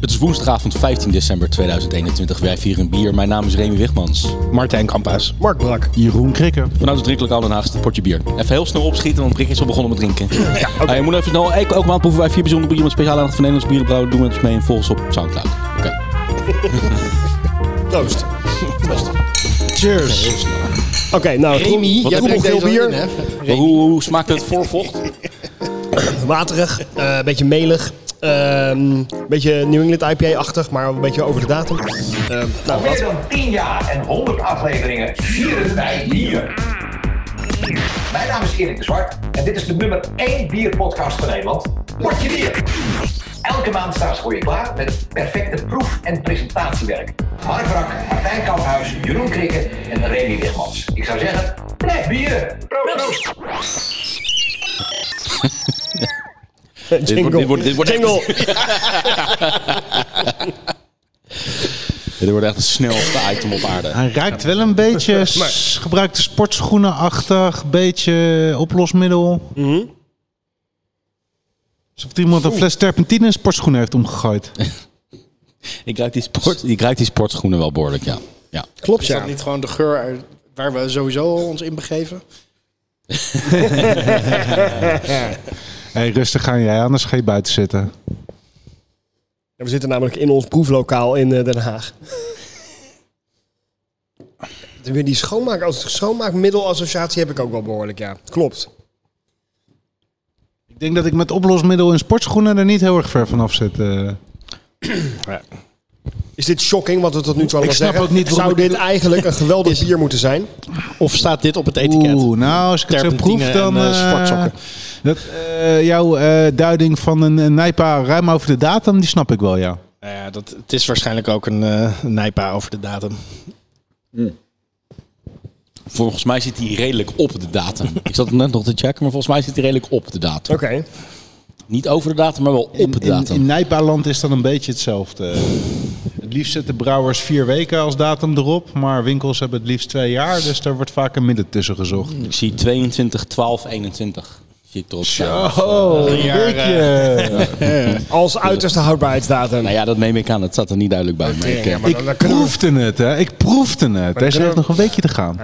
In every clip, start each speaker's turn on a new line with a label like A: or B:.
A: Het is woensdagavond 15 december 2021. Wij vieren bier. Mijn naam is Remy Wigmans.
B: Martijn Kampas.
C: Mark Brak.
D: Jeroen Krikke.
A: Vanuit het drinkelijk al naast het potje bier. Even heel snel opschieten, want Rick is al begonnen met drinken. Ja, je moet even snel. Elke elke maand proeven wij vier bijzondere bieren met speciale aandacht van Nederlands bierenbrouwer. Doe met ons dus mee en volg ons op Soundcloud. Oké.
C: Proost.
D: Cheers.
C: Oké, nou,
B: Remy,
C: troebel-
B: jij
C: troebel
B: brengt
C: veel
B: deze wel
C: bier.
B: in, hè?
A: Maar Hoe, hoe smaakt het voorvocht?
C: Waterig, eh, een beetje melig. ehm, Een beetje New England IPA-achtig, maar een beetje over de datum. Ehm, nou,
E: Meer
C: wat?
E: dan 10 jaar en 100 afleveringen vieren wij bier. Mijn naam is Erik de Zwart en dit is de nummer 1 bierpodcast van Nederland. Word je bier! Elke maand staan ze voor je klaar met perfecte proef- en presentatiewerk. Mark Brak, Martijn Kamphuis, Jeroen Krikke en Remy Wigmans. Ik zou zeggen, blijf bieren! Proost!
C: Jingle.
A: wordt- dit wordt- dit wordt echt-
C: Jingle.
A: Dit wordt echt het snelste item op aarde.
D: Hij ruikt wel een beetje s- gebruikte sportschoenenachtig, beetje oplosmiddel. Alsof iemand een fles terpentine in sportschoenen heeft omgegooid.
A: Ik ruik die, sport, ik ruik die sportschoenen wel behoorlijk, ja. ja.
C: Klopt,
B: Is dat
C: ja.
B: niet gewoon de geur uit- waar we sowieso al ons in begeven?
D: hey, rustig aan jij, anders ga je buiten zitten.
C: We zitten namelijk in ons proeflokaal in eh, Den Haag. Weer die schoonmaak, als schoonmaakmiddelassociatie heb ik ook wel behoorlijk, ja. Klopt.
D: Ik denk dat ik met oplosmiddel in sportschoenen er niet heel erg ver vanaf zit. eh.
C: Is dit shocking wat we tot nu toe allemaal
D: snap
C: zeggen?
D: ook niet waarom
C: Zou
D: ik-
C: dit eigenlijk een geweldig bier moeten zijn?
B: Of staat dit op het etiket?
D: Oeh, nou, als ik het zo
B: Terpentine
D: proef,
B: en,
D: dan...
B: eh,
D: eh,
B: sportsokken.
D: dat, eh, jouw eh, duiding van een, een Nijpa ruim over de datum, die snap ik wel, ja.
B: Nou ja, dat, het is waarschijnlijk ook een eh, een nijpa over de datum.
A: Volgens mij zit hij redelijk op de datum. Ik zat net nog te checken, maar volgens mij zit hij redelijk op de datum.
C: Oké.
A: Niet over de datum, maar wel op de
D: In, in,
A: datum.
D: in Nijpaland is dat een beetje hetzelfde. Het liefst zetten brouwers vier weken als datum erop, maar winkels hebben het liefst twee jaar, dus daar wordt vaak een midden tussen gezocht.
A: Ik zie 22, 12, 21. Zie ik erop staan.
D: Oh, een
B: eh, jaar,
D: beetje.
C: Als uiterste houdbaarheidsdatum.
A: Nou ja, dat neem ik aan. Dat zat er niet duidelijk bij. Maar ik, eh,
C: maar dan- dan
D: Ik
C: kunnen we-
D: proefde het, hè. Ik proefde het. Deze
C: kunnen we-
D: heeft nog een weekje te gaan.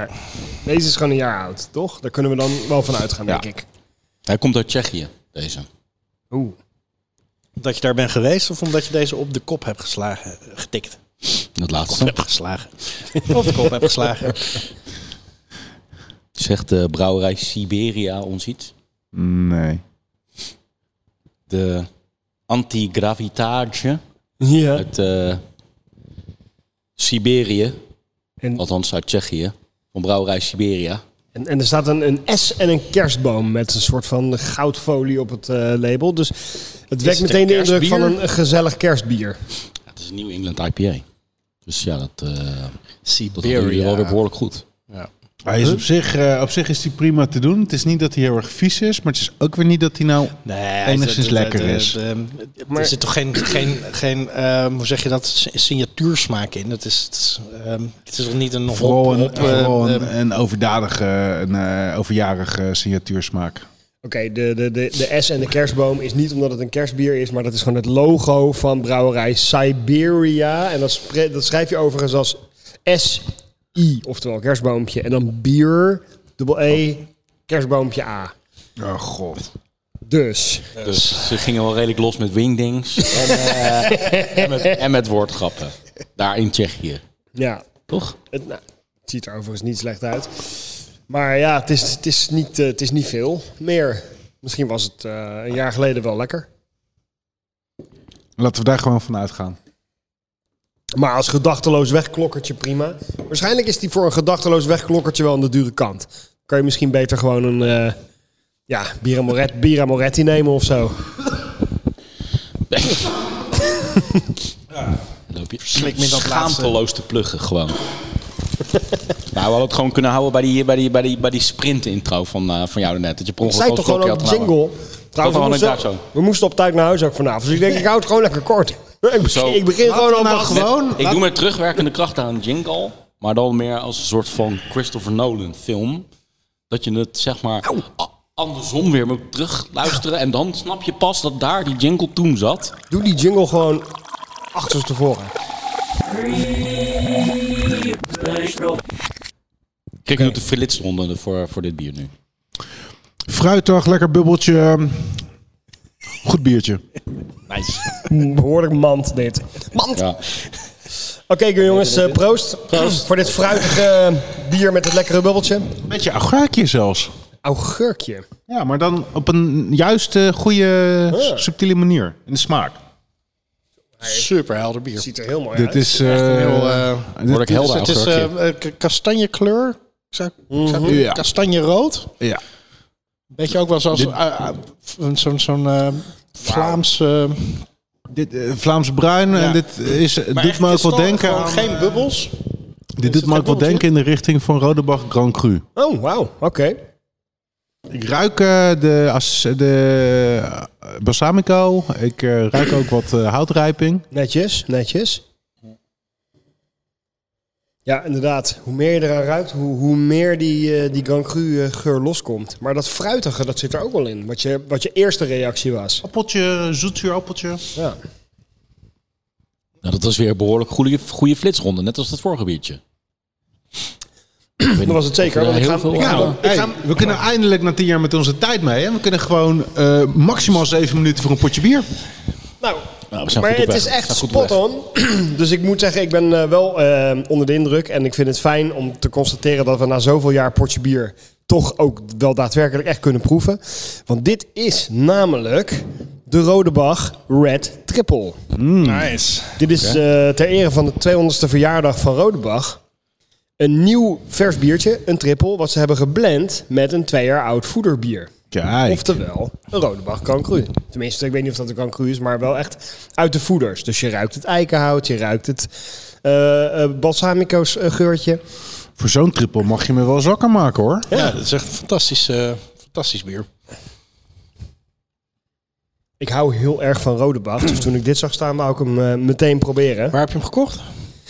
C: Deze is gewoon een jaar oud, toch? Daar kunnen we dan wel van uitgaan,
D: Ja.
C: denk ik.
A: Hij komt uit Tsjechië, deze.
C: Oeh.
B: Omdat je daar bent geweest of omdat je deze op de kop hebt geslagen, getikt?
A: Dat
B: Of
A: laatste.
B: hebt geslagen. Op de kop hebt geslagen.
A: Zegt de brouwerij Siberia ons iets.
D: Nee.
A: De antigravitage
C: Ja.
A: uit eh, Siberië.
C: En-
A: Althans uit Tsjechië. Van brouwerij Siberia.
C: En, en er staat een, een S en een kerstboom met een soort van goudfolie op het eh, label. Dus het wekt
B: het
C: meteen
B: een
C: de indruk van
B: kerstbier?
C: een gezellig kerstbier.
A: Ja, het is een New England IPA. Dus ja, dat, eh dat doet jullie wel weer
B: Siberia.
A: behoorlijk goed.
D: Hij is op zich, eh, op zich is die prima te doen. Het is niet dat hij heel erg vies is, maar het is ook weer niet dat hij nou...
B: Nee,
D: Enigszins lekker is.
B: er zit toch geen, geen, geen ehm, hoe zeg je dat, si- signatuursmaak in. Het is, het is, ehm, het is toch niet een
D: Vooral een,
B: hop- hop, eh,
D: vooral
B: ehm,
D: een, een overdadige, een eh, overjarige signatuursmaak.
C: Oké, de, de, de, de S en de kerstboom is niet omdat het een kerstbier is, maar dat is gewoon het logo van brouwerij Siberia. En dat, spre- dat schrijf je overigens als S-I, oftewel kerstboompje. En dan bier, dubbel E, kerstboompje A.
D: Oh god.
C: Dus,
A: Dus ze gingen wel redelijk los met wingdings. en, eh, en, met, en met woordgrappen. Daar in Tsjechië.
C: ja.
A: Toch?
C: Het, nou, het ziet er overigens niet slecht uit. Maar ja, het is, het is, niet, eh, het is niet veel meer. Misschien was het eh, een jaar geleden wel lekker.
D: Laten we daar gewoon van uitgaan.
C: Maar als gedachteloos wegklokkertje prima. Waarschijnlijk is die voor een gedachteloos wegklokkertje wel aan de dure kant. Kan je misschien beter gewoon een eh ja, Bira, Moret, Bira Moretti nemen of zo.
A: Loop je
B: Slik me dat
A: schaamteloos te pluggen gewoon. nou, we hadden het gewoon kunnen houden bij die, bij die, bij die, bij die sprint-intro van, eh, van jou net. Dat je per
C: Ik
A: ongeluk
C: zei
A: al
C: toch
A: een
C: gewoon ook
A: slokje had genomen.
C: jingle. Trouwens, we
A: gewoon
C: moesten,
A: inderdaad zo.
C: we moesten op tijd naar huis ook vanavond. Dus ik denk, ik hou het gewoon lekker kort. Ik
A: Zo.
C: begin, ik begin gewoon al
D: nou gewoon...
A: Ik doe met terugwerkende kracht aan een jingle. Maar dan meer als een soort van Christopher Nolan film. Dat je het zeg maar a- andersom weer moet terugluisteren. En dan snap je pas dat daar die jingle toen zat.
C: Doe die jingle gewoon
B: achterstevoren.
A: Kijk nu op de flitsronde voor, voor dit bier nu.
D: Fruitdag, lekker bubbeltje. Goed biertje.
A: Nice.
C: Mm, Behoorlijk mand dit. Mand!
A: Ja.
C: Oké jongens, eh, proost. proost. Voor dit fruitige eh, bier met het lekkere bubbeltje.
D: Beetje agraakje zelfs.
C: Augurkje.
D: Ja, maar dan op een juiste, goede,
C: Ja.
D: subtiele manier. In de smaak.
B: Super helder bier.
C: Ziet er heel mooi
D: Dit
C: uit.
D: is...
B: Echt een heel,
D: eh
B: eh,
A: Word ik
D: dit is-
A: helder
B: het is
A: achter
B: eh, eh, k- kastanjekleur. Ik zou- ik zou-
D: Ja.
B: Kastanjerood.
D: Ja.
B: Beetje ook wel zoals eh, eh, een zo'n zo'n eh, Vlaams... eh,
D: Dit, eh, Vlaams bruin. En dit is, het
B: maar
D: doet
B: echt,
D: me
B: het
D: ook
B: is
D: wel
B: toch
D: denken
B: gewoon
D: aan...
B: geen bubbels.
D: Dit doet me ook wel
B: bubbeltje?
D: denken in de richting van Rodebach Grand Cru.
C: Oh, wauw. Oké.
D: Ik ruik eh, de, as- de eh, balsamico. Ik eh, ruik ook wat eh, houtrijping.
C: Netjes, netjes. Ja, inderdaad. Hoe meer je eraan ruikt, hoe, hoe meer die, eh, die Grand Cru eh, geur loskomt. Maar dat fruitige, dat zit er ook wel in. Wat je, wat je eerste reactie was.
D: Appeltje, zoetzuur appeltje.
C: Ja.
A: Nou, dat was weer een behoorlijk goede, goede flitsronde. Net als dat vorige biertje.
C: Nou,
A: dat
C: was het zeker, want ik ga- ik ga-
A: ja.
D: Nou, Hey, we kunnen eindelijk na tien jaar met onze tijd mee. Hè? We kunnen gewoon eh, maximaal zeven minuten voor een potje bier.
C: Nou,
A: Nou, we zijn
C: maar
A: goed op
C: het
A: weg.
C: is
A: We
C: echt
A: zijn goed op
C: spot on. dus ik moet zeggen, ik ben eh, wel eh, onder de indruk. En ik vind het fijn om te constateren dat we na zoveel jaar potje bier toch ook wel daadwerkelijk echt kunnen proeven. Want dit is namelijk de Rode Bach Red Triple.
A: Hmm.
B: Nice.
C: Dit is eh, ter ere van de 200ste verjaardag van Rodebach. Een nieuw vers biertje, een triple, wat ze hebben geblend met een twee jaar oud voederbier.
D: Kijk.
C: Oftewel, een Rodebach Grand Cru. Tenminste, ik weet niet of dat een Grand Cru is, maar wel echt uit de voeders. Dus je ruikt het eikenhout, je ruikt het eh, eh, balsamico's eh, geurtje.
D: Voor zo'n triple mag je me wel zakken maken hoor.
B: Ja, dat is echt een fantastisch, eh, fantastisch bier.
C: Ik hou heel erg van Rodebach, dus toen ik dit zag staan, wou ik hem eh, meteen proberen.
B: Waar heb je hem gekocht?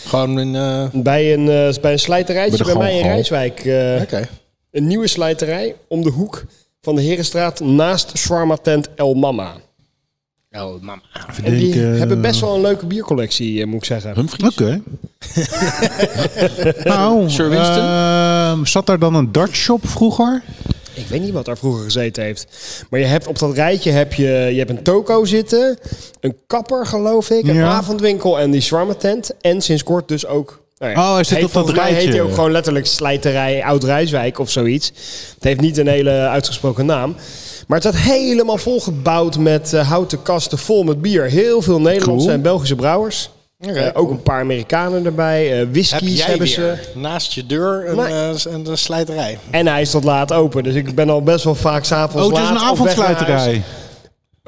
B: Gewoon in... eh,
C: Bij een, eh, bij een slijterijtje
D: Bij
C: bij,
D: de
C: mij in
D: Galgal.
C: Rijswijk eh,
B: Oké.
C: Een nieuwe slijterij om de hoek van de Herenstraat naast shawarma tent El Mama.
B: Oh, mama.
C: En die
D: Denk, eh,
C: hebben best wel een leuke biercollectie, eh, moet ik zeggen.
A: Humphries?
D: Oké. nou,
A: Sir Winston?
D: ehm, zat daar dan een dartshop vroeger?
C: Ik weet niet wat daar vroeger gezeten heeft. Maar je hebt op dat rijtje heb je, je hebt een toko zitten, een kapper geloof ik, een
D: Ja.
C: avondwinkel en die shawarma tent. En sinds kort dus ook... nou
D: Oh, hij zit
C: heet-
D: op dat
C: volgens mij heet hij
D: rijtje.
C: ook gewoon letterlijk slijterij Oud-Rijswijk of zoiets. Het heeft niet een hele uitgesproken naam. Maar het staat helemaal volgebouwd met eh, houten kasten vol met bier. Heel veel Nederlandse
D: Cool.
C: en Belgische brouwers. Eh, ook een paar Amerikanen erbij. eh
B: Heb
C: whiskies
B: jij
C: hebben ze.
B: weer naast je deur een,
C: Nee.
B: eh, s- een, een slijterij?
C: En hij is tot laat open. Dus ik ben al best wel vaak s'avonds
D: Oh, het
C: laat
D: is een
C: op weg naar huis.
D: avondsluiterij.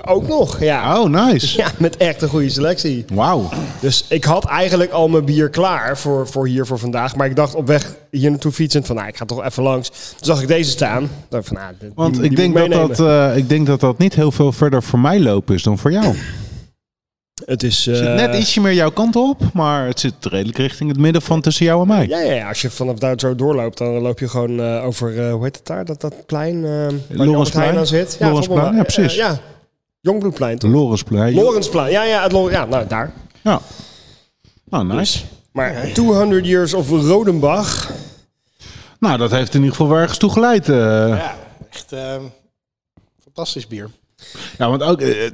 C: Ook nog, ja.
D: Oh, nice.
C: Ja, met echt een goede selectie.
D: Wauw.
C: Dus ik had eigenlijk al mijn bier klaar voor, voor hier voor vandaag. Maar ik dacht op weg hier naartoe fietsend van, nou, ik ga toch even langs. Toen zag ik deze staan. Dacht ik van, nou, die- die
D: Want
C: moet
D: ik denk, dat
C: meenemen.
D: dat, eh, ik denk dat dat niet heel veel verder voor mij lopen is dan voor
C: Eh.
D: jou.
C: Het is...
D: Het zit
C: eh,
D: net ietsje meer jouw kant op, maar het zit redelijk richting het midden van tussen jou en mij.
C: Ja, ja, ja, als je vanaf daar zo doorloopt, dan loop je gewoon eh, over, eh, hoe heet het daar, dat, dat plein eh, waar die
D: Lorensplein?
C: Albert Heijn aan zit.
D: Lorensplein,
C: volgens mij.
D: ja, precies.
C: Eh, ja, Jongbloedplein
D: De
C: toch?
D: Lorensplein.
C: Lorensplein, ja, ja, het Lor- ja, nou daar.
D: Ja. Nou,
C: Dus-
D: nice.
C: Maar 200 Years of Rodenbach,
D: Nou, dat heeft in ieder geval wel ergens toe geleid. eh. Ja.
B: Ja, echt eh, fantastisch bier.
D: want ook eh, eh,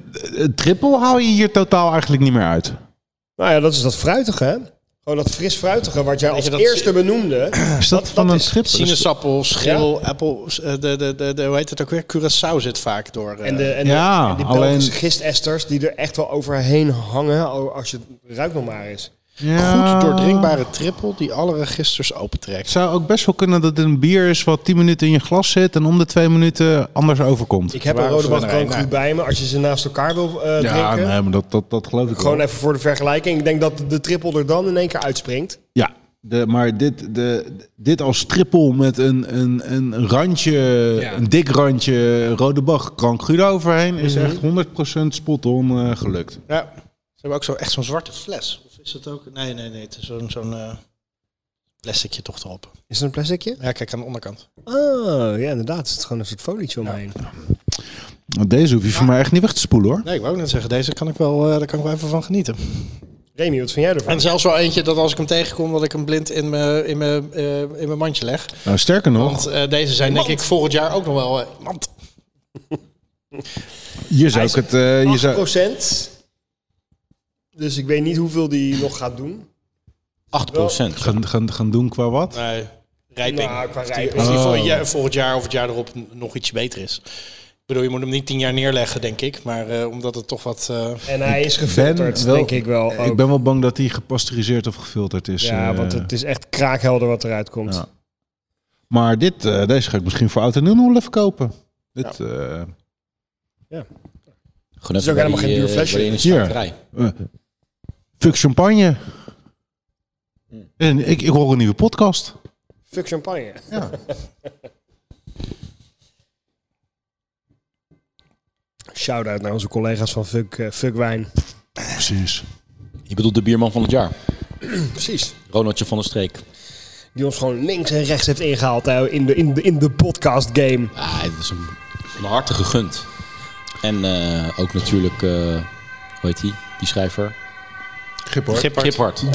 D: triple hou je hier totaal eigenlijk niet meer uit.
C: nou ja, dat is dat fruitige, hè? Gewoon dat fris fruitige wat jij als
B: je, dat
C: eerste
B: zie-
C: benoemde.
D: Is dat, van
C: dat
D: een Dus-
C: is
D: schip?
B: Sinaasappel, schil, appel, s- eh, de, de, de, de, hoe heet het ook weer? Curaçao zit vaak door. eh,
C: En de, en de,
D: Ja,
C: en die
D: alleen-
C: Belgische gistesters die er echt wel overheen hangen oh, als je het ruikt nog maar eens.
D: Ja.
B: Goed doordrinkbare trippel die alle registers
D: Het
B: opentrekt.
D: zou ook best wel kunnen dat het een bier is wat 10 minuten in je glas zit en om de 2 minuten anders overkomt.
C: Ik heb een
B: Waar
C: rode
B: verwennerij,
C: Grand
B: nou.
C: bij me als je ze naast elkaar wil eh,
D: ja,
C: drinken.
D: nee, maar dat, dat, dat geloof ik
C: Gewoon
D: wel.
C: even voor de vergelijking. Ik denk dat de triple er dan in één keer uitspringt.
D: Ja, de, maar dit, de, dit als trippel met een, een, een randje, een dik randje rode bag, crancuda overheen, is
C: Mhm.
D: echt 100% spot-on eh, gelukt.
B: Ja. Ze hebben ook zo, echt zo'n zwarte fles. Of is het ook? Nee, nee, nee. Het is zo'n zo'n eh, plasticje toch erop.
C: Is het een plasticje?
B: Ja, kijk aan de onderkant.
C: Oh, ja, inderdaad. Het is gewoon een soort folietje omheen.
D: Nou, Deze hoef je voor mij echt niet weg te spoelen hoor.
B: Nee, ik wou ook net zeggen, deze kan ik wel, eh, daar kan ik wel even van genieten.
C: Remy, wat vind jij ervan?
B: En zelfs wel eentje dat als ik hem tegenkom, dat ik hem blind in mijn, in mijn, eh, in mijn mandje leg.
D: Nou, sterker nog,
B: Want eh, deze zijn denk ik volgend jaar ook nog wel... eh, mand.
D: je zou ik het... eh, je zou,
C: 8%. Dus ik weet niet hoeveel die nog gaat doen.
A: 8 procent.
D: gaan, gaan, gaan doen qua wat?
B: Nee, rijping.
C: Nou, qua
B: Of die-
C: rijping.
B: of die
D: Oh.
B: voor- ja, volgend jaar of het jaar erop n- nog iets beter is. Ik bedoel, je moet hem niet tien jaar neerleggen, denk ik. Maar eh, omdat het toch wat... eh,
C: En hij is gefilterd,
D: wel-
C: denk ik wel.
D: Ik
C: ook.
D: ben wel bang dat die gepasteuriseerd of gefilterd is.
C: ja,
D: eh,
C: want het is echt kraakhelder wat eruit komt.
D: Ja. Maar dit, eh, deze ga ik misschien voor oud en nieuw nog wel even kopen. Dit, eh,
A: Gewoon
C: is ook helemaal geen duur
A: eh,
C: flesje.
D: Hier.
A: Hier.
D: eh, fuck champagne. En ik, ik hoor een nieuwe podcast.
C: Fuck champagne.
D: Ja.
C: Shout-out naar onze collega's van Fuck, eh, fuck Wijn.
D: Precies.
A: Je bedoelt de bierman van het jaar.
C: Precies.
A: Ronaldje van der Streek.
C: Die ons gewoon links en rechts heeft ingehaald hè, in de, in de, in de podcast game.
A: Ah, dat is hem van harte gegund. En eh, ook natuurlijk, eh, hoe heet die? Die schrijver?
B: Gippard.
A: Giphart.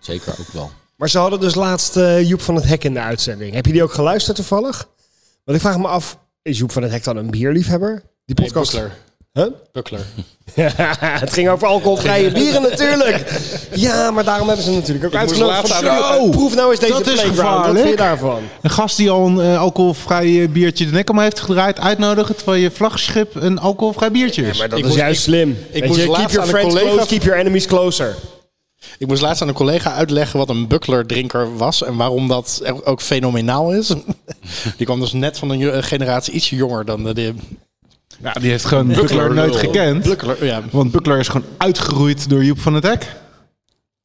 A: Zeker ook wel.
C: Maar ze hadden dus laatst eh, Joep van het Hek in de uitzending. Heb je die ook geluisterd toevallig? Want ik vraag me af, is Joep van het Hek dan een bierliefhebber? Die
B: Nee,
C: podcast?
B: Buckler.
C: Huh?
B: Buckler.
C: het ging over alcoholvrije bieren natuurlijk. Ja, maar daarom hebben ze hem natuurlijk ook
B: moest
C: uitgenodigd.
B: laatst
C: van,
B: aan Oh,
D: de-
C: "Zo, Proef nou eens deze
D: dat is
C: playground. Wat vind je
D: gevaarlijk."
C: daarvan?
D: Een gast die al een eh, alcoholvrij eh, biertje de nek om heeft gedraaid, uitnodigen terwijl je vlaggenschip een alcoholvrij biertje is.
C: Dat
B: Ik
C: is
B: moest-
C: juist
B: ik-
C: slim.
B: ik
C: Weet
B: moest
C: je, keep
B: laatst
C: your
B: aan een
C: friends
B: collega-
C: close, keep your enemies closer.
B: Ik moest laatst aan een collega uitleggen wat een buckler-drinker was en waarom dat ook fenomenaal is. Die kwam dus net van een jo- een generatie ietsje jonger dan de, de
D: Ja, die heeft gewoon Buckler nooit gekend.
B: buckler. Ja.
D: Want Buckler is gewoon uitgeroeid door Joep van het Hek.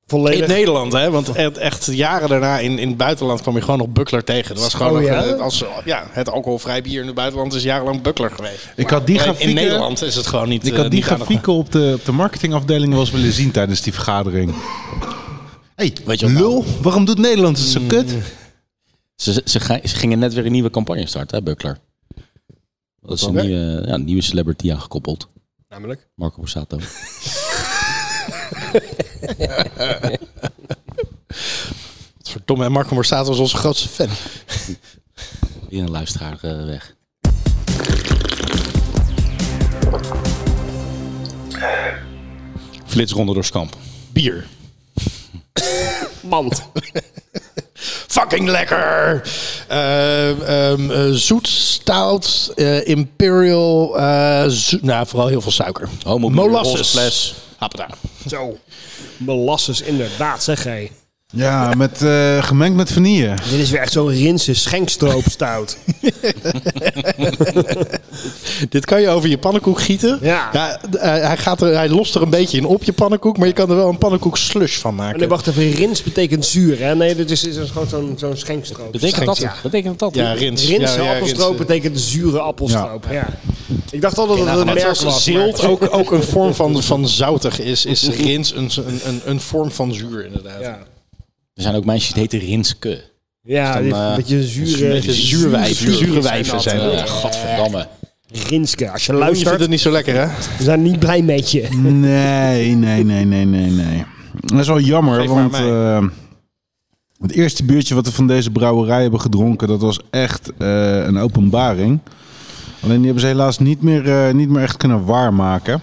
C: Volledig.
B: In Nederland, hè? Want echt, echt jaren daarna in, in het buitenland kwam je gewoon nog buckler tegen. Dat was gewoon
C: Oh,
B: nog,
C: ja?
B: eh, als, ja, het alcoholvrij bier in het buitenland is jarenlang buckler geweest.
D: Ik had die
B: Alleen
D: grafieken-
B: in Nederland is het gewoon niet.
D: Ik
B: eh,
D: had die
B: niet aan de-
D: grafieken op de, op de marketingafdeling wel eens willen zien tijdens die vergadering. hey,
A: Weet
D: Weet
A: je
D: je
A: wat
B: nou,
D: lul, waarom doet Nederland het zo kut?
A: Ze, ze, ze gij- ze gingen net weer een nieuwe campagne starten, hè, Buckler? Dat is een
C: dan
A: nieuwe, ja, een nieuwe celebrity aangekoppeld.
C: Namelijk.
A: Marco Borsato.
B: Verdomme, en Marco Borsato was onze grootste fan.
A: Weer een luisteraar eh, weg. Flitsronde door Skamp.
B: Bier.
C: Mand.
B: Fucking lekker! Eh, ehm, eh, zoet, stout, eh, imperial, eh, zoet- nou vooral heel veel suiker.
A: Homo
B: Molasses.
A: fles.
B: Appelda.
C: Zo. Molasses, inderdaad, zeg hé.
D: Ja, met, eh, gemengd met vanille.
C: Dit is weer echt zo'n rinse schenkstroopstout.
B: Dit kan je over je pannenkoek gieten.
C: Ja.
B: d- eh, hij, gaat er, hij lost er een beetje in op je pannenkoek, maar je kan er wel een pannenkoek slush van maken.
C: Oh, nee, wacht even, rins betekent zuur, hè? Nee, dit is, dit is gewoon zo'n zo'n schenkstroop.
A: Betekent dat?
C: Ja.
A: Betekent dat?
B: ja, rins.
C: Rins,
B: ja, ja,
C: appelstroop
B: rins. eh.
C: betekent zure appelstroop. Ja. Ik dacht altijd dat het een
B: Nou, Net
C: merk
B: zoals
C: was.
B: zilt
C: maar-
B: ook, ook een vorm van, van zoutig is, is rins een, een, een, een vorm van zuur inderdaad.
C: Ja,
A: Er zijn ook meisjes die heten Rinske.
C: ja
A: dan,
C: dit-
A: eh,
C: een beetje
A: een
C: zure...
A: beetje
B: Zuur wijven. Zure wijven zijn
A: Eh,
B: dat.
A: gadverdamme.
C: Rinske, als je
B: Oh, je vindt
C: luistert,
B: het niet zo lekker, hè?
C: we zijn niet blij met je.
D: Nee, nee, nee, nee, nee, nee. Dat is wel jammer,
B: Geef maar
D: want
B: mij.
D: eh, het eerste biertje wat we van deze brouwerij hebben gedronken, dat was echt eh, een openbaring. Alleen die hebben ze helaas niet meer, eh, niet meer echt kunnen waarmaken.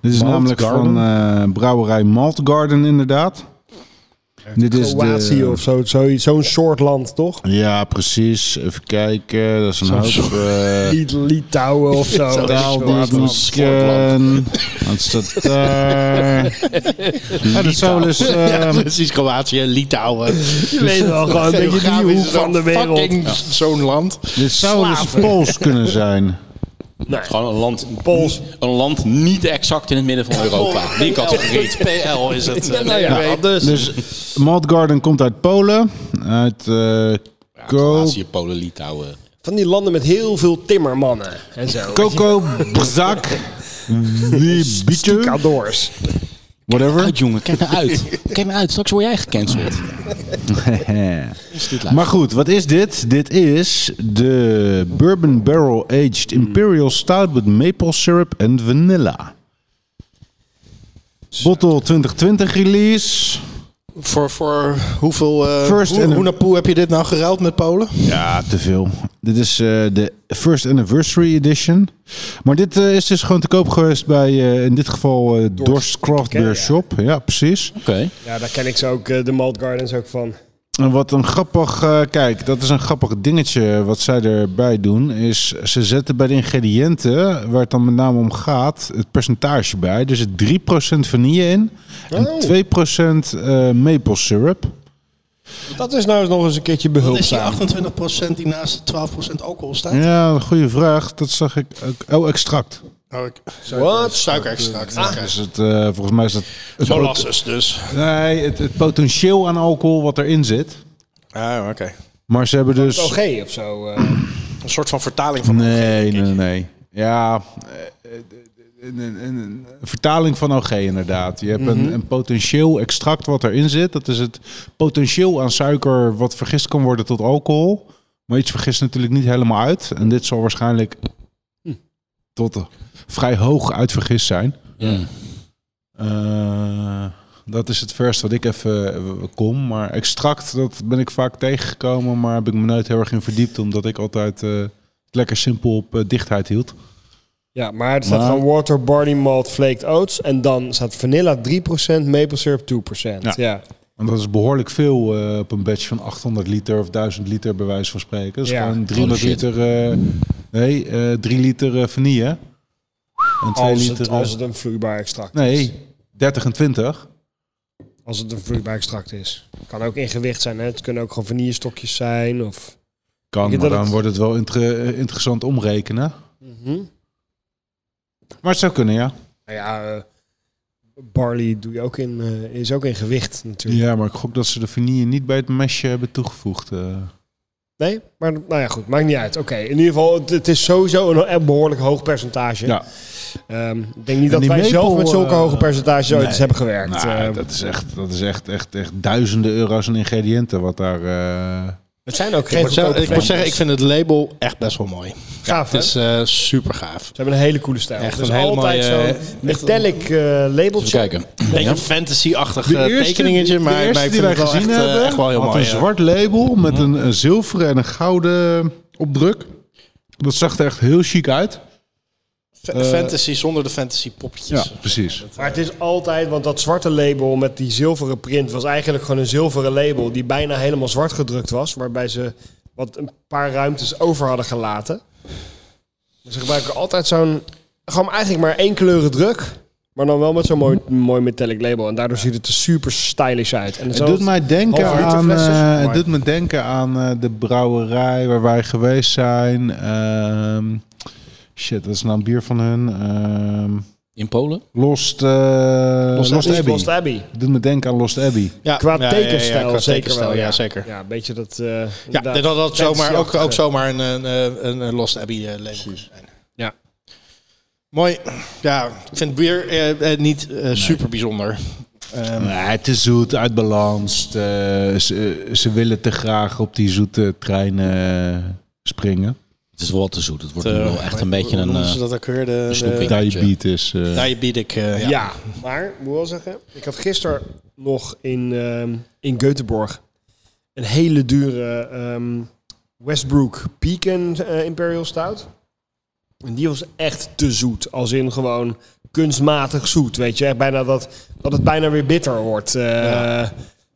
D: Dit is Malt namelijk Garden? van eh, brouwerij Malt Garden inderdaad. Dit is
C: Kroatië
D: de,
C: of zo, zo- zo'n soort land, toch?
D: Ja, precies. Even kijken. Dat is een hoop. eh,
C: Liet- Litouwen of zo.
D: Taal die ik niet ken. Wat staat daar? Ja, dat zou wel eens... eh,
B: Ja, precies. Kroatië, Litouwen.
C: Je weet wel, gewoon een beetje die
B: Geografisch
C: hoek
B: is dat
C: van de wereld.
B: fucking zo'n land.
D: dit zou wel eens
C: Slaven.
D: Pools kunnen zijn.
C: Nee.
A: Gewoon een land,
C: Pools.
A: een land niet exact in het midden van Europa.
B: Oh,
A: Die categorie.
B: PL is het. eh,
C: Nou ja, dus.
D: Dus Malt Garden komt uit Polen. Uit eh Co-
A: Kroatië, Polen, Litouwen.
C: Van die landen met heel veel timmermannen en zo.
D: Coco Brzak. Wiebitje.
C: Kadors.
D: Whatever.
A: Uit jongen, kijk nou uit. Kijk nou uit, straks word jij gecanceld.
D: Maar goed, wat is dit? Dit is de Bourbon Barrel Aged Imperial Stout with Maple Syrup en Vanilla. Bottle 2020 release.
B: Voor, voor hoeveel eh
D: First
B: hoe,
D: and-
B: hoenapoe heb je dit nou geruild met Polen?
D: Ja, Ah, te veel. Dit is eh, de First Anniversary Edition. Maar dit eh, is dus gewoon te koop geweest bij, eh, in dit geval, eh Dorst Craft
C: Ken je,
D: Beer
C: ja.
D: Shop. Ja, precies.
A: Oké.
C: Ja, daar ken ik ze ook, eh, de Malt Gardens ook van.
D: En wat een grappig, eh, kijk, dat is een grappig dingetje wat zij erbij doen, is ze zetten bij de ingrediënten, waar het dan met name om gaat, het percentage bij. Dus er zit 3% vanille in en 2% eh, maple syrup.
C: Dat is nou nog eens een keertje
B: Dat is die
C: behulpzaam.
B: 28% die naast de 12% alcohol staat?
D: Ja, een goede vraag. Dat zag ik ook. Oh, extract.
B: Oh, ik-
C: Wat?
B: Suikerextract. oké.
D: Dus het, eh, volgens mij is dat... Het
B: Molasses Ah. dus.
D: pot- nee, het, het potentieel aan alcohol wat erin zit.
B: Ah, oké.
D: Maar ze hebben dus...
C: OG of zo. eh.
B: Een soort van vertaling van...
D: Nee, nee, nee. Ja, eh, eh, een, een, een- een vertaling van OG inderdaad. Je hebt een, een potentieel extract wat erin zit. Dat is het potentieel aan suiker wat vergist kan worden tot alcohol. Maar iets vergist natuurlijk niet helemaal uit. En dit zal waarschijnlijk tot eh, vrij hoog uitvergist zijn. Eh, dat is het verst wat ik even eh, kom. Maar extract, dat ben ik vaak tegengekomen. Maar heb ik me nooit heel erg in verdiept. Omdat ik altijd eh, het lekker simpel op eh, dichtheid hield.
C: Ja, maar het staat
D: Maar-
C: gewoon water, barley malt, flaked oats. En dan staat vanilla 3%, maple syrup 2%. Ja. ja.
D: Want dat is behoorlijk veel eh, op een batch van 800 liter of 1000 liter bij wijze van spreken. Dat is
C: Ja.
D: gewoon 300
A: Holy shit.
D: liter, eh, nee, eh 3 liter eh, vanille. En 2
C: Als,
D: liter...
C: het,
D: eh,
C: als het een vloeibaar extract is.
D: nee, 30 en 20.
C: Als het een vloeibaar extract is. Kan ook in gewicht zijn. Hè? Het kunnen ook gewoon vanillestokjes zijn. Of...
D: Kan,
C: Ik denk dat
D: maar dan
C: het- Mhm.
D: wordt het wel inter- eh, interessant omrekenen. Maar het zou kunnen, ja.
C: Nou ja, eh, barley doe je ook in, eh, is ook in gewicht natuurlijk.
D: Ja, maar ik gok dat ze de vanille niet bij het mesje hebben toegevoegd. eh.
C: Nee, maar nou ja, goed. Maakt niet uit. Oké, in ieder geval, het, het is sowieso een echt behoorlijk hoog percentage.
D: Ja.
C: Ehm, ik denk niet dat
D: die
C: wij
D: maple,
C: zelf met zulke
D: eh,
C: hoge percentages ooit
D: nee.
C: eens hebben gewerkt.
D: Nou,
B: eh,
C: Ehm,
D: dat is, echt, dat is echt, echt, echt duizenden euro's aan ingrediënten wat daar... eh,
C: het zijn ook
B: Ik
C: geen
B: moet, zeggen,
C: goedkope
B: ik moet zeggen, ik
C: flesjes.
B: vind het label echt best wel mooi.
C: Gaaf, hè?
B: Het is eh super gaaf.
C: Ze hebben een hele coole stijl.
B: Echt
C: dus
B: een hele
C: altijd
B: mooie,
C: zo'n
B: eh, echt
C: metallic eh
A: Even
C: labeltje.
A: kijken.
B: Beetje
A: Ja.
B: fantasy-achtig
D: De
B: eh,
D: eerste-
B: tekeningetje,
D: de
B: maar,
D: eerste
B: maar ik
D: die
B: vind
D: wij
B: het wel echt,
D: gezien
B: eh,
D: hebben,
B: echt wel heel
D: had
B: mooi.
D: een
B: ja. Mhm.
D: zwart label met een, eh, zilveren en een gouden opdruk. Dat zag er echt heel chic uit.
B: Fa- fantasy zonder de fantasy-popjes.
D: precies.
C: Maar het is altijd, want dat zwarte label met die zilveren print was eigenlijk gewoon een zilveren label die bijna helemaal zwart gedrukt was, waarbij ze wat een paar ruimtes over hadden gelaten. Dus ze gebruiken altijd zo'n, gewoon eigenlijk maar één kleuren druk, maar dan wel met zo'n mooi, mooi metallic label. En daardoor ziet het er super stylish uit. En
D: Het doet mij denken
C: halve liter
D: aan,
C: flessen?
D: eh,
C: Mooi.
D: het doet me denken aan eh, de brouwerij waar wij geweest zijn. Ehm, shit, dat is nou een bier van hun. Ehm,
A: In Polen?
D: Lost, eh, Lost, Abbey.
C: Lost Abbey.
D: Het doet me denken aan Lost Abbey.
B: Ja,
C: Qua
B: ja, ja, ja,
C: tekenstijl
B: ja, qua
C: zeker
B: tekenstijl,
C: wel.
B: Ja, zeker.
C: Ja, een beetje dat... eh,
B: Ja, dat dat had zomaar, ook, ook
C: zo.
B: zomaar een, een, eh, een, eh, Lost Abbey eh, label kunnen zijn.
C: Ja.
B: Mooi. Ja, ik vind bier eh, eh, niet eh, super bijzonder.
D: Nee, eh, het is zoet, uitbalanst. eh, ze, ze willen te graag op die zoete trein eh, springen.
A: Het is wel te zoet. Het wordt nu wel echt een beetje
B: Hoe
A: een...
B: noemen
A: eh,
B: ze dat ook weer? De,
A: snoepie.
B: de-
D: Diabetes. eh.
B: Dus diabetic. eh, ja.
C: Ja. maar ik moet wel zeggen, ik had gisteren nog in, ehm, in Göteborg een hele dure ehm, Westbrook Pecan eh, Imperial Stout. En die was echt te zoet, als in gewoon kunstmatig zoet, weet je. Echt bijna dat, dat het bijna weer bitter wordt eh,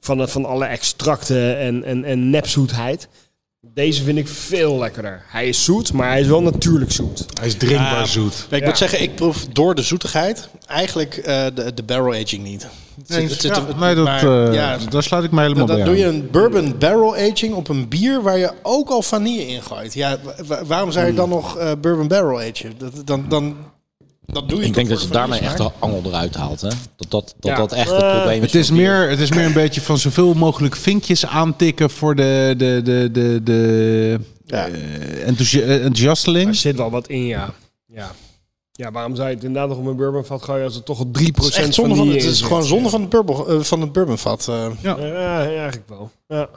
C: van, het- van alle extracten en, en, en nepzoetheid. Deze vind ik veel lekkerder. Hij is zoet, maar hij is wel natuurlijk zoet.
D: Hij is drinkbaar
B: Ah,
D: zoet.
B: Ik
C: Ja.
B: moet zeggen, ik proef door de zoetigheid eigenlijk eh, de, de barrel aging niet. Het zit- het zit-
D: Ja, nee, dat,
B: maar,
D: eh,
B: ja,
D: daar sluit ik me helemaal
B: dan
D: bij
B: doe je
D: aan.
B: een bourbon barrel aging op een bier waar je ook al vanille in gooit. Ja, wa- wa- waarom zou je dan nog eh, bourbon barrel agen? Dat, dan, dan, dat doe je
A: ik denk
B: toch
A: dat
B: voor
A: ze
B: de
A: daarmee echt
B: vanillesmaak?
A: de angel eruit haalt. Hè? Dat, dat, dat,
C: Ja.
A: dat echt het
C: Eh,
A: probleem is.
D: Het is,
A: van bier.
D: meer, het is meer een beetje van zoveel mogelijk vinkjes aantikken voor de, de, de, de, de
B: Ja.
D: eh, enthousi- eh, enthousiasteling.
C: Er zit wel wat in, ja. Ja, ja waarom zou je het inderdaad nog op een bourbonvat gooien als het toch al 3%
B: Het is echt zonde
C: van
B: van,
C: die
B: het
C: in
B: is
C: zit?
B: gewoon zonde van het, bourbon, eh, van het bourbonvat. eh.
C: Ja, ja, eigenlijk wel. Ja.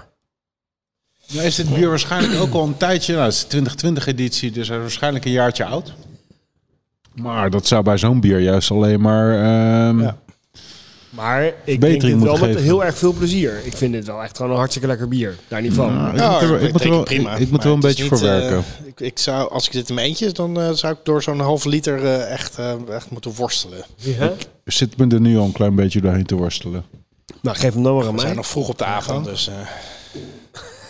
D: Nou is dit bier waarschijnlijk ook al een tijdje, nou het is de 2020-editie, dus hij is waarschijnlijk een jaartje oud. Maar dat zou bij zo'n bier juist alleen maar ehm,
B: Ja.
C: Maar ik
D: Verbetering
C: drink dit
D: moet
C: wel met
D: geven.
C: heel erg veel plezier. Ik vind dit wel echt gewoon een hartstikke lekker bier. Daar niet van.
D: Nou, ik
B: Ja,
D: moet er- ik moet er
B: drink
D: wel-
B: het prima,
D: ik- ik moet er
B: maar
D: wel een
B: het is
D: beetje voor
B: niet, eh,
D: werken.
B: ik, ik zou, als ik dit in mijn eentje, dan eh, zou ik door zo'n halve liter eh, echt, eh, echt moeten worstelen.
C: Ja?
D: Ik zit me er nu al een klein beetje doorheen te worstelen.
C: nou, geef hem dan maar aan
B: We
C: mij.
B: zijn nog vroeg op de avond, dus... eh,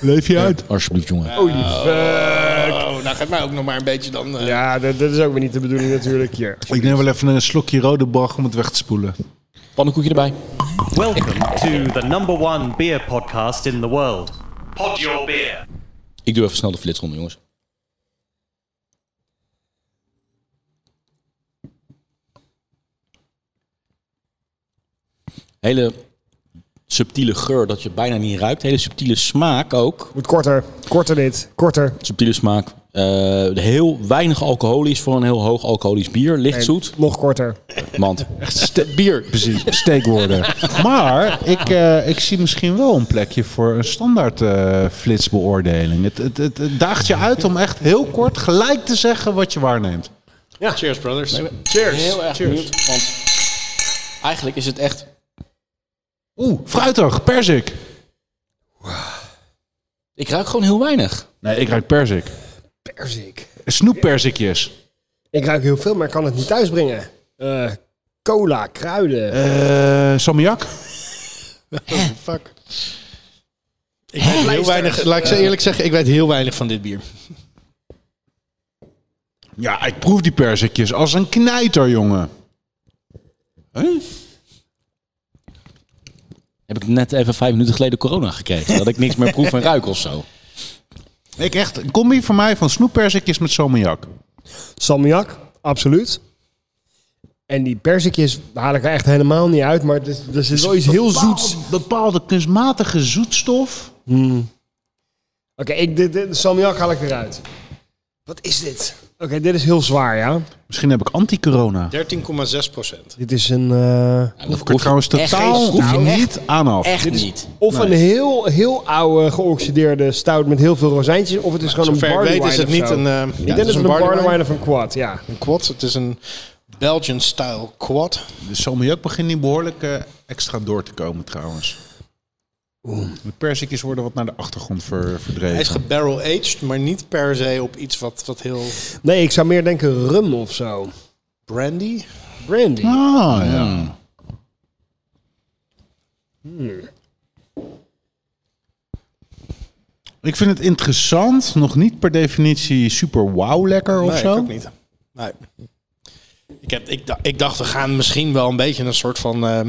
D: Leef je uit? Oh,
A: Alsjeblieft, jongen.
C: Holy
D: Eh,
C: fuck.
B: oh, nou gaat mij ook nog maar een beetje dan... eh,
C: Ja, dat, dat is ook weer niet de bedoeling natuurlijk hier.
D: Ik neem wel even een slokje rode brag om het weg te spoelen.
A: Pannenkoekje erbij.
F: Welcome to the number one beer podcast in the world. Pod your beer.
A: Ik doe even snel de flitsronde, jongens. Hele subtiele geur dat je bijna niet ruikt. Hele subtiele smaak ook.
C: Moet korter. Korter dit. Korter.
A: Subtiele smaak. Eh, heel weinig alcoholisch voor een heel hoog alcoholisch bier. Licht zoet.
C: Nog korter.
A: Mand.
D: bier. Precies, steekwoorden. maar ik, eh, ik zie misschien wel een plekje voor een standaard eh, flitsbeoordeling. Het, het, het, het daagt je uit om echt heel kort gelijk te zeggen wat je waarneemt.
B: Cheers, brothers.
A: Cheers. Heel erg benieuwd, want eigenlijk is het echt...
D: Oeh, fruitig, persik.
A: Ik ruik gewoon heel weinig.
D: Nee, ik ruik persik.
C: Perzik.
D: Snoeppersikjes.
C: Ik ruik heel veel, maar ik kan het niet thuisbrengen. Eh cola, kruiden.
D: Eh Samjak.
B: Fuck. Ik weet heel weinig, laat ik ze eerlijk zeggen, ik weet heel weinig van dit bier.
D: Ja, ik proef die persikjes als een knijter, jongen.
A: Heb ik net even vijf minuten geleden corona gekregen. Dat ik niks meer proef en ruik of zo.
D: Ik echt, een combi voor mij van snoeppersikjes met salmiak.
C: Salmiak, absoluut. En die perzikjes haal ik er echt helemaal niet uit, maar er, er zit wel iets heel zoets. Oké,
D: Bepaalde kunstmatige zoetstof.
C: ik, dit, dit, de salmiak haal ik eruit. Wat is dit? Oké, dit is heel zwaar, ja.
D: Misschien heb ik anti-corona.
B: 13,6 procent.
C: Dit is een, eh,
A: Dat
D: Ik trouwens totaal
A: proef je echt
D: niet aan af.
A: Echt niet.
C: of een heel, heel oude geoxideerde stout met heel veel rozijntjes, of het is gewoon een
B: Zover ik
C: barley
B: weet
C: wine
B: is het
C: of
B: niet
C: zo.
B: een... eh,
C: ik
B: het
C: denk dat
B: is
C: het een
B: barley
C: barley
B: wine.
C: wine of een quad, ja.
B: Een quad, het is een Belgian-style quad.
D: De salmiak begint nu behoorlijk eh, extra door te komen trouwens. De persikjes worden wat naar de achtergrond ver-
B: Hij is
D: verdreven.
B: gebarrel-aged, maar niet per se op iets wat, wat heel
C: Nee, ik zou meer denken rum of zo.
B: brandy.
C: Brandy.
D: Ah, ja. Ik vind het interessant, nog niet per definitie super wauw lekker of
B: nee,
D: zo.
B: ik ook niet. Nee. Ik, heb, ik, da- ik dacht, we gaan misschien wel een beetje een soort van eh,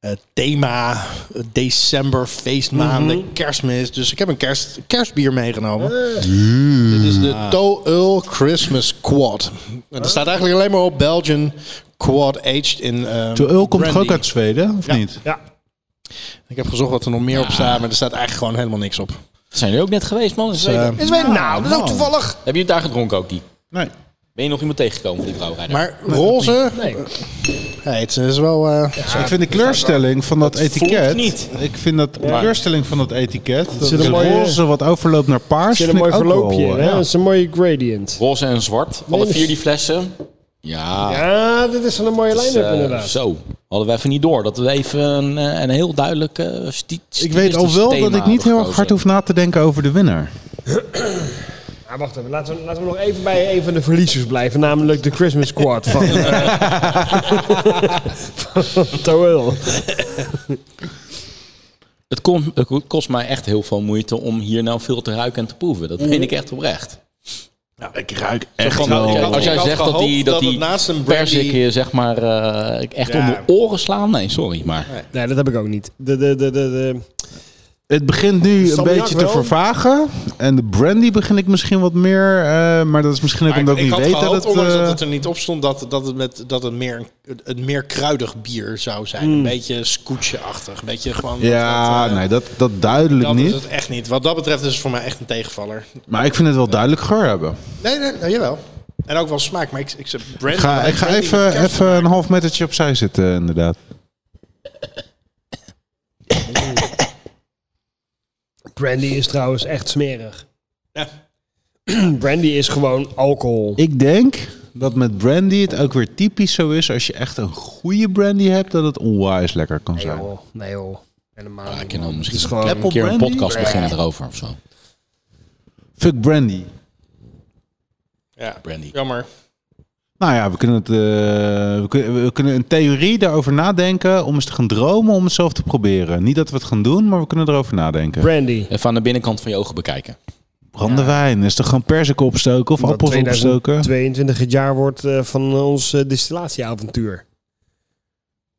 B: eh, thema eh, december, feestmaanden,
D: Mhm.
B: kerstmis. Dus ik heb een kerst, kerstbier meegenomen.
D: Eh.
B: Dit is de Toel Christmas Quad. En er staat eigenlijk alleen maar op Belgian Quad Aged in eh,
D: De Ul komt toch ook
B: brandy.
D: uit Zweden, of niet?
C: Ja.
B: Ik heb gezocht wat er nog meer op staat, maar er staat eigenlijk gewoon helemaal niks op.
A: Zijn jullie ook net geweest, man?
B: Dus, eh,
C: Is weer, nou, dat is ook
D: nou.
C: toevallig.
A: Heb je het daar gedronken ook die?
D: Nee.
A: Ben je nog iemand tegengekomen van die brouwerij? daar?
B: maar roze,
C: Nee.
B: nee, het is wel... eh,
D: ik vind de kleurstelling van dat, etiket.
A: niet.
D: Ik vind dat de kleurstelling van dat etiket. Dat
C: zit
D: de
C: een mooie-
D: roze wat overloopt naar paars.
C: Er zit een
D: vind
C: mooi
D: ik ook
C: verloopje
D: wel,
C: in,
D: eh,
C: hè?
D: ja.
C: Dat is een mooie gradient.
A: Roze en zwart. Alle
C: dus-
A: vier die flessen. Ja.
C: Ja, Ah, dit is wel een mooie
A: dat is,
C: lijn-up
A: eh,
C: inderdaad.
A: zo. Hadden we even niet door. Dat we even een, eh, een heel duidelijk eh sti-
D: Ik weet al
A: stilistisch
D: wel dat
A: thema
D: ik niet heel erg hard
A: gekozen.
D: hoef na te denken over de winnaar.
C: Maar Ah, wacht even, laten we, laten we nog even bij een van de verliezers blijven, namelijk de Christmas Squad van, eh, van Toel.
A: Het, kon- het kost mij echt heel veel moeite om hier nou veel te ruiken en te proeven. Dat meen ik echt oprecht.
D: ik ruik
A: Van,
B: wel.
A: eh, Als jij
B: Ik had
A: zegt dat die,
B: gehoopt
A: dat
B: dat
A: die
B: het naast een brandy-
A: persik je zeg maar eh, ik echt onder oren slaan. Nee, sorry. Maar
C: Nee, dat heb ik ook niet. De, de, de, de, de.
D: Het begint nu een
C: Salmiak
D: beetje te
C: wel.
D: vervagen. En de brandy begin ik misschien wat meer. eh, maar dat is misschien ook
B: Maar
D: omdat ik
B: ik
D: niet
B: had
D: weet
B: gehoopt,
D: dat het...
B: ondanks dat
D: eh,
B: het er niet op stond, dat, dat, het, met, dat het meer een, een meer kruidig bier zou zijn. Een beetje scootje-achtig. Een beetje gewoon...
D: Hmm. Ja,
B: dat, eh,
D: nee, dat, dat duidelijk
B: dat
D: niet.
B: is het echt niet. Wat dat betreft is het voor mij echt een tegenvaller.
D: Maar ik vind het wel duidelijk geur hebben.
B: Nee, nee, nou, jawel. En ook wel smaak, maar ik, ik zeg brandy.
D: Ik ga, ik ga
B: brandy met
D: even,
B: kerst-
D: even een half metertje opzij zitten, inderdaad.
C: Brandy is trouwens echt smerig.
B: Ja.
C: Brandy is gewoon alcohol.
D: Ik denk dat met brandy het ook weer typisch zo is. Als je echt een goede brandy hebt, dat het onwijs lekker kan
C: Nee
D: zijn.
C: joh, nee joh. Helemaal
A: Ja, ik
C: niet.
A: kan dan nou misschien
C: Het is gewoon-
A: een keer een
D: Apple brandy?
A: podcast beginnen erover of zo.
D: Fuck brandy.
B: Ja,
A: Brandy.
B: jammer.
D: Nou ja, we kunnen, het, eh, we, kunnen, we kunnen een theorie daarover nadenken om eens te gaan dromen om het zelf te proberen. Niet dat we het gaan doen, maar we kunnen erover nadenken.
C: Brandy.
A: Even aan de binnenkant van je ogen bekijken.
D: Brandewijn, is toch gewoon perzik opstoken of
C: Wat
D: appels opstoken?
C: 2022 het jaar wordt eh, van ons eh, distillatieavontuur.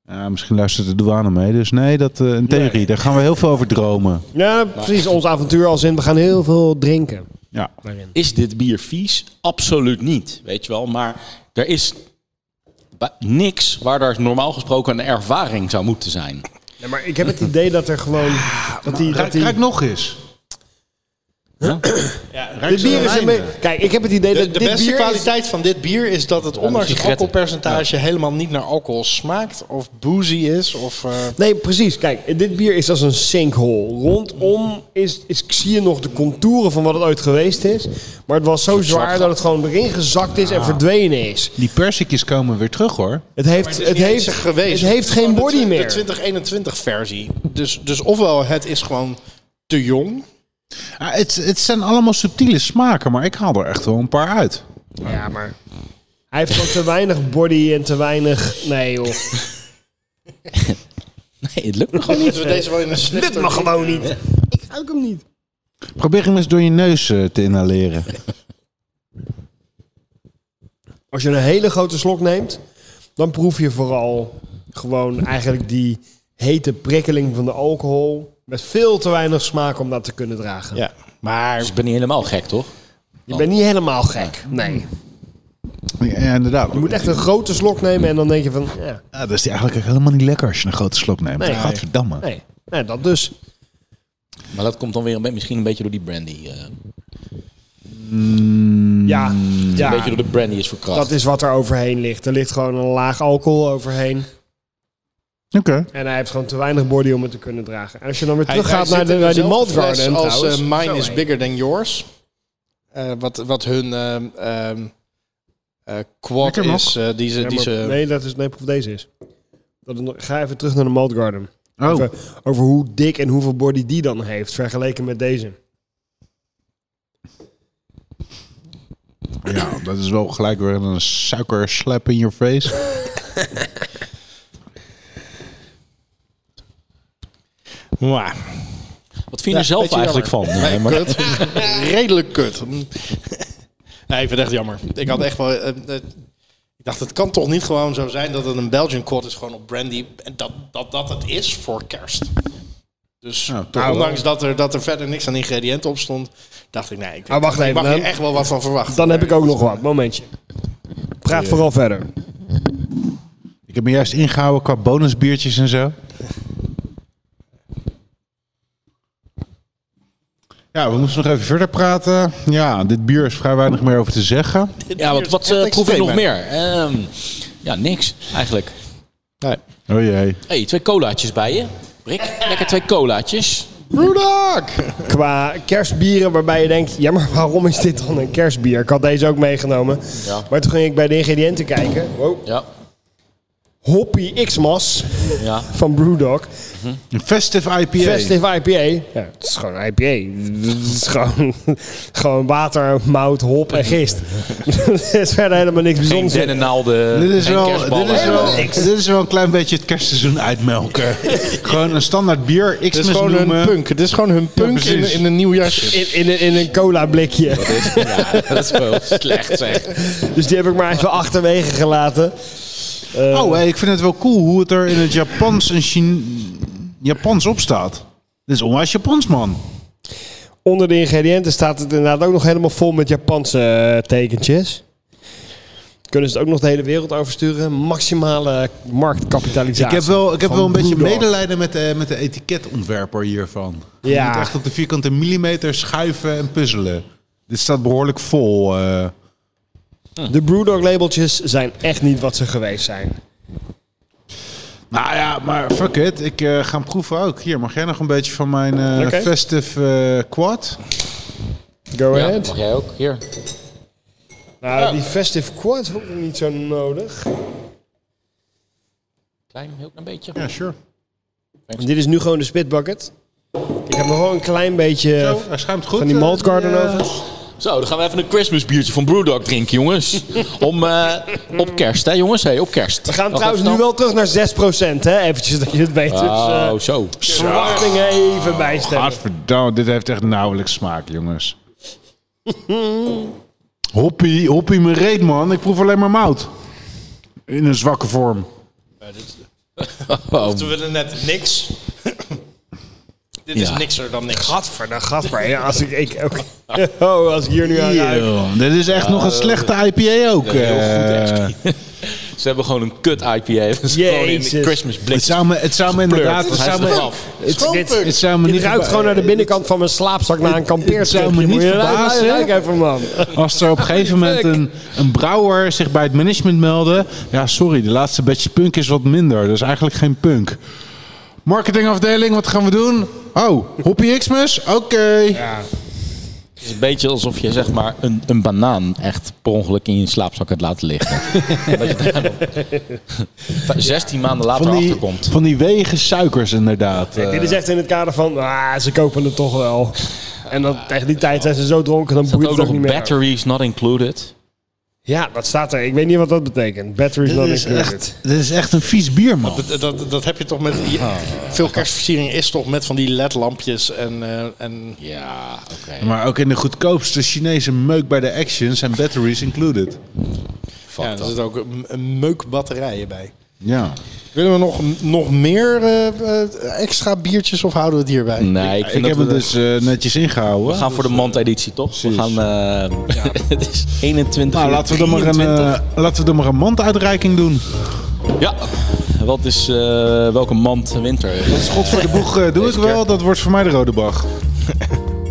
D: Ja, misschien luistert de douane mee, dus nee, dat, eh, een theorie. Daar gaan we heel veel over dromen.
C: Ja, precies. Ons avontuur als in, we gaan heel veel drinken.
D: Ja.
C: Daarin.
A: Is dit bier vies? Absoluut niet, weet je wel. Maar er is ba- niks waar daar normaal gesproken een ervaring zou moeten zijn.
C: Nee, maar ik heb het idee dat er gewoon... Dat die, dat
D: Kijk,
C: die,
D: nog eens.
C: dit bier is een
D: wijnen.
C: be- Kijk, ik heb het idee dat
B: De, de
C: dit
B: beste
C: bier
B: kwaliteit van dit bier is dat het ondanks het
A: sigaretten.
B: alcoholpercentage helemaal niet naar alcohol smaakt of boozy is of eh,
C: Is, nee, precies. Kijk, dit bier is als een sinkhole. Rondom is, is, zie je nog de contouren van wat het ooit geweest is. Maar het was zo zwaar dat het gewoon erin gezakt
B: Ah.
C: is en verdwenen is.
D: Die persikjes komen weer terug hoor.
C: Het heeft,
B: Maar
C: het
B: is niet eens
C: heeft,
B: er geweest.
C: het heeft geen
B: Gewoon de twi-
C: body
B: De
C: meer.
B: 2021 versie. Dus, dus ofwel het is gewoon te jong.
D: Ah, het, het zijn allemaal subtiele smaken, maar ik haal er echt wel een paar uit.
C: Ja, maar... Hij heeft gewoon te weinig body en te weinig... Nee, joh.
A: Nee, het lukt me gewoon niet.
B: Moeten we deze wel in een snifter
C: Dit mag
B: doen?
C: gewoon niet. Ik ruik hem niet.
D: Probeer hem eens door je neus eh, te inhaleren.
C: Als je een hele grote slok neemt, dan proef je vooral gewoon eigenlijk die hete prikkeling van de alcohol. Met veel te weinig smaak om dat te kunnen dragen.
B: Ja, maar
A: Dus ik ben niet helemaal gek, toch?
C: Je bent niet helemaal gek. Nee. Je
D: Ja, ja, inderdaad.
C: moet echt een grote slok nemen en dan denk je van, ja,
D: Ja, dat is die eigenlijk ook helemaal niet lekker als je een grote slok neemt.
C: Nee.
D: Gadverdamme.
C: nee. Nee, dat dus.
A: Maar dat komt dan weer een be- misschien een beetje door die brandy. eh,
C: Ja,
B: Mm.
A: Een
C: ja
A: beetje door de brandy is
C: dat
A: verkracht.
C: is wat er overheen ligt. Er ligt gewoon een laag alcohol overheen.
D: Oké.
C: En hij heeft gewoon te weinig body om het te kunnen dragen. En als je dan weer
B: Hij- hij
C: teruggaat
B: zit
C: naar, de,
B: in
C: naar die
B: dezelfde
C: malt
B: fles
C: garden
B: als eh,
C: trouwens.
B: Mine
C: Zo,
B: is
C: hé.
B: bigger than yours. Eh, wat, wat hun ehm ehm, eh, quad
D: Lekker nog.
B: is. eh, die ze,
C: Ja,
B: die
C: maar-
B: ze,
C: Nee, dat is nee, proef deze is. Dat is nog- ga even terug naar de Malt Garden.
D: Oh,
C: Even over hoe dik en hoeveel body die dan heeft vergeleken met deze.
D: ja, Oh, dat is wel gelijk weer een suikerslap in your face.
B: Mwah.
A: Wat vind je er zelf
B: beetje
A: eigenlijk van?
B: Nee,
A: eh, Mark?
B: kut. Redelijk kut. Nee, ik vind het echt jammer. Ik had echt wel... eh, eh, ik dacht, het kan toch niet gewoon zo zijn dat het een Belgian quad is, gewoon op brandy. En dat dat, dat het is voor kerst. Dus
D: Nou, toch wel.
B: ondanks dat er, dat er verder niks aan ingrediënten op stond, dacht ik, nee, ik,
C: Ah, wacht
B: ik
C: even,
B: mag
C: dan-
B: hier echt wel wat van verwachten.
C: Dan heb ik ook nog wat. Momentje. Praat vooral verder.
D: Ik heb me juist ingehouden qua bonusbiertjes en zo. Ja, we moesten nog even verder praten. Ja, dit bier is vrij weinig meer over te zeggen.
A: Ja, want wat eh, proef je nog meer? Ehm, ja, niks eigenlijk.
D: Oh jee.
A: hey, twee colaatjes bij je. Brik, lekker twee colaatjes.
B: Roedak!
C: Qua kerstbieren waarbij je denkt... Ja, maar waarom is dit dan een kerstbier? Ik had deze ook meegenomen.
A: Ja.
C: Maar toen ging ik bij de ingrediënten kijken. Wow.
A: Ja,
C: Hoppy X-Mas
A: ja.
C: van Brewdog.
D: Een festive IPA.
C: Festive IPA. Ja, het is gewoon een IPA. Het is gewoon, gewoon water, mout, hop en gist. Het is verder helemaal niks
A: Geen
C: bijzonders.
A: dennennaalden,
D: Dit is,
A: geen
D: wel,
A: kerstballen.
D: dit, is wel,
A: Helemaal niks.
D: dit is wel een klein beetje het kerstseizoen uitmelken. gewoon een standaard bier,
B: Dit
D: Xmas
B: is gewoon hun
D: noemen.
B: punk. Dit is gewoon hun punk in,
D: precies.
B: in een nieuw jasje.
C: In, in, een- in een cola blikje.
A: Dat is, ja, dat is wel slecht zeg.
C: Dus die heb ik maar even achterwege gelaten.
D: Oh, hey, ik vind het wel cool hoe het er in het Japans en Chin... Japans op staat. Dit is onwijs Japans, man.
C: Onder de ingrediënten staat het inderdaad ook nog helemaal vol met Japanse eh, tekentjes. Kunnen ze het ook nog de hele wereld oversturen? Maximale
D: Ik
C: marktkapitalisatie.
D: heb wel, ik heb
C: van
D: wel een beetje
C: Brewdog.
D: medelijden met de, met de etiketontwerper hiervan. Je
C: Ja.
D: moet echt op de vierkante millimeter schuiven en puzzelen. Dit staat behoorlijk vol. eh.
C: De Brewdog labeltjes zijn echt niet wat ze geweest zijn.
D: Nou ja, maar fuck it. Ik eh, ga hem proeven ook. Hier, mag jij nog een beetje van mijn eh,
C: Oké.
D: festive eh, quad?
C: Go
A: Ja,
C: ahead.
A: mag jij ook? Hier.
C: Nou, die Festive Quad ook niet zo nodig.
A: Klein, heel klein beetje.
D: Ja, sure.
C: Dit is nu gewoon de spitbucket. Ik heb nog wel een klein beetje
D: Zo, hij schuimt goed.
C: van die
D: eh,
C: malt garden
D: eh,
C: over.
A: Zo, dan gaan we even een Christmas biertje van Brewdog drinken, jongens. Om, eh, op kerst, hè jongens? Hey, op kerst.
C: We gaan trouwens nu wel terug naar 6%, hè? Eventjes dat je het weet. Dus,
A: Oh,
C: eh,
A: zo.
C: verwachtingen even bijstellen.
D: Gadverdamme, dit heeft echt nauwelijks smaak, jongens. hoppie, hoppie me reet, man. Ik proef alleen maar mout. In een zwakke vorm.
A: Oh,
B: We willen net niks. Dit is
A: Ja.
B: nikser dan niks.
C: Gadver, gadver. Ja, als ik, ik ook, oh, als ik hier nu aan ruik.
D: Dit is echt nog een slechte IPA ook.
A: heel
D: eh.
A: goed, Ze hebben gewoon een kut IPA. Dat is gewoon in
C: Jezus.
A: Christmas
D: het
A: blikjes.
D: zou me, het zou me inderdaad...
A: Hij
D: Het
A: is
D: zou
A: er
D: me,
A: vanaf.
D: het,
C: Dit-
D: het zou me
C: Dit
D: niet
C: ruikt
D: verba-
C: gewoon naar de binnenkant van mijn slaapzak na een kampeertripje.
D: zou me niet
C: Moet je ruiken?
D: verbazen.
C: Ruik even, man.
D: Als er op een gegeven moment een, een brouwer zich bij het management meldde... Ja, sorry, de laatste batch punk is wat minder. Dus eigenlijk geen punk. Marketingafdeling, wat gaan we doen? Oh, Hoppie Xmas? Oké.
A: Het is een beetje alsof je zeg maar een, een banaan echt per ongeluk in je slaapzak hebt laten liggen. dat je daar nog 16 maanden later
D: Van die,
A: achterkomt.
D: van die wegen suikers inderdaad.
C: Kijk, dit is echt in het kader van, ah, ze kopen het toch wel. En dan, tegen die tijd zijn ze zo dronken, dan boeit
A: Ook
C: het ook
A: nog
C: niet
A: een
C: meer.
A: batteries not included.
C: Ja, dat staat er. Ik weet niet wat dat betekent. Batteries
D: dit,
C: not
D: Eh, is
C: included.
D: echt, dit is echt een vies bier, man.
B: Dat, dat, dat heb je toch met... die- Veel kerstversiering is toch met van die ledlampjes en... eh, en
A: Ja, oké.
D: Maar ook in de goedkoopste Chinese meuk bij de Action zijn batteries included.
B: ja, er zitten ook een- een meukbatterijen bij.
D: Ja.
B: Willen we nog, nog meer eh, eh, extra biertjes of houden we het hierbij?
A: Nee, ik,
D: Ik,
A: vind
D: heb
A: dat
D: het
A: we,
D: dus eh, netjes ingehouden.
A: we gaan voor de mandeditie, toch? We gaan, eh, het is 21
D: nou,
A: uur
D: laten we, er maar een,
A: 23.
D: eh, laten we er maar een manduitreiking doen.
A: Ja, wat is, eh, welke mand winter?
D: Dat is God voor de boeg. eh, doe ik wel. Dat wordt voor mij de rode bag.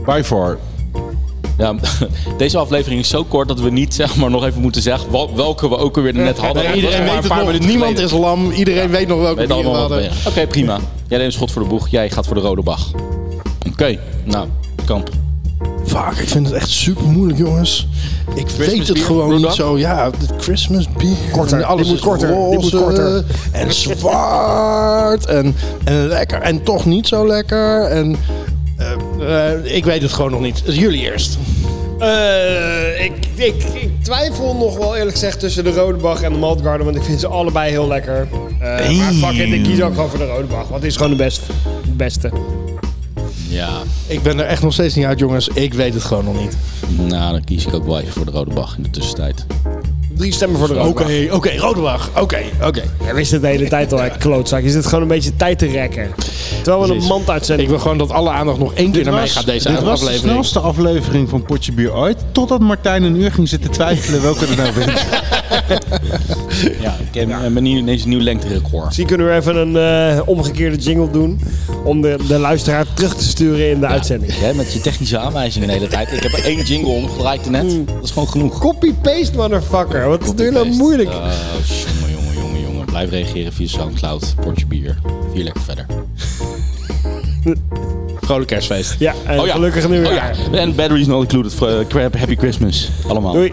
D: By far.
A: Ja, deze aflevering is zo kort dat we niet zeg maar, nog even moeten zeggen wel- welke we ook alweer net hadden.
B: Ja,
A: Het was
B: iedereen
A: maar
B: weet
A: een
B: het
A: paar
B: nog.
A: minuten
B: Niemand
A: geleden.
B: is lam. Iedereen weet nog welke
A: Weet
B: bieren we
A: allemaal wat
B: hadden.
A: we- Oké, prima. Jij neemt schot voor de boeg, jij gaat voor de rode bag. Oké, nou, kamp.
B: Fuck, ik vind het echt super moeilijk, jongens. Ik weet het
A: bier,
B: gewoon
A: Rodan?
B: niet zo. Ja, de Christmas bier.
C: Korter,
B: En alles
C: die moet
B: is
C: korter, die moet
B: roze
C: korter.
B: En zwart. En, en lekker. En toch niet zo lekker. En eh, eh, ik weet het gewoon nog niet. Jullie eerst.
C: Eh, ik, ik, ik twijfel nog wel eerlijk gezegd tussen de Rode Bach en de Malt Garden, want ik vind ze allebei heel lekker. Eh, maar fuck it, ik kies ook gewoon voor de Rode Bach, want die is gewoon de beste. De beste.
A: Ja,
B: Ik ben er echt nog steeds niet uit, jongens. Ik weet het gewoon nog niet.
A: nou dan kies ik ook wel even voor de rode bag in de tussentijd.
C: Drie stemmen voor de Rode
B: Oké,
C: Bach.
B: oké, Rodenbach. Oké, oké.
C: Jij wist het de hele tijd al, hè, klootzak. Je zit gewoon een beetje tijd te rekken. Terwijl we een mand
B: Ik
C: uitzenden.
B: wil gewoon dat alle aandacht nog één keer naar mij gaat deze
D: dit was de
B: aflevering.
D: snelste aflevering van Potje Bier ooit. Totdat Martijn een uur ging zitten twijfelen welke er nou wint.
A: Ja, ik heb een nieuw, ineens een nieuw lengterecord.
C: Misschien kunnen we even een eh, omgekeerde jingle doen om de, de luisteraar terug te sturen in de uitzending.
A: Jij met je technische aanwijzingen de hele tijd. Ik heb er één jingle omgedraaid net. Dat is gewoon genoeg.
C: Copy-paste, motherfucker. Wat Mm. is het nou moeilijk?
A: Oh, jongen, jongen, jongen, jongen. Blijf reageren via Soundcloud, Portje Bier. Vier lekker verder.
B: Vrolijk kerstfeest.
C: Ja, en
A: ja.
C: gelukkig nu weer.
A: Oh ja, en batteries not included. Voor, eh, crap, happy Christmas. Allemaal.
C: Doei.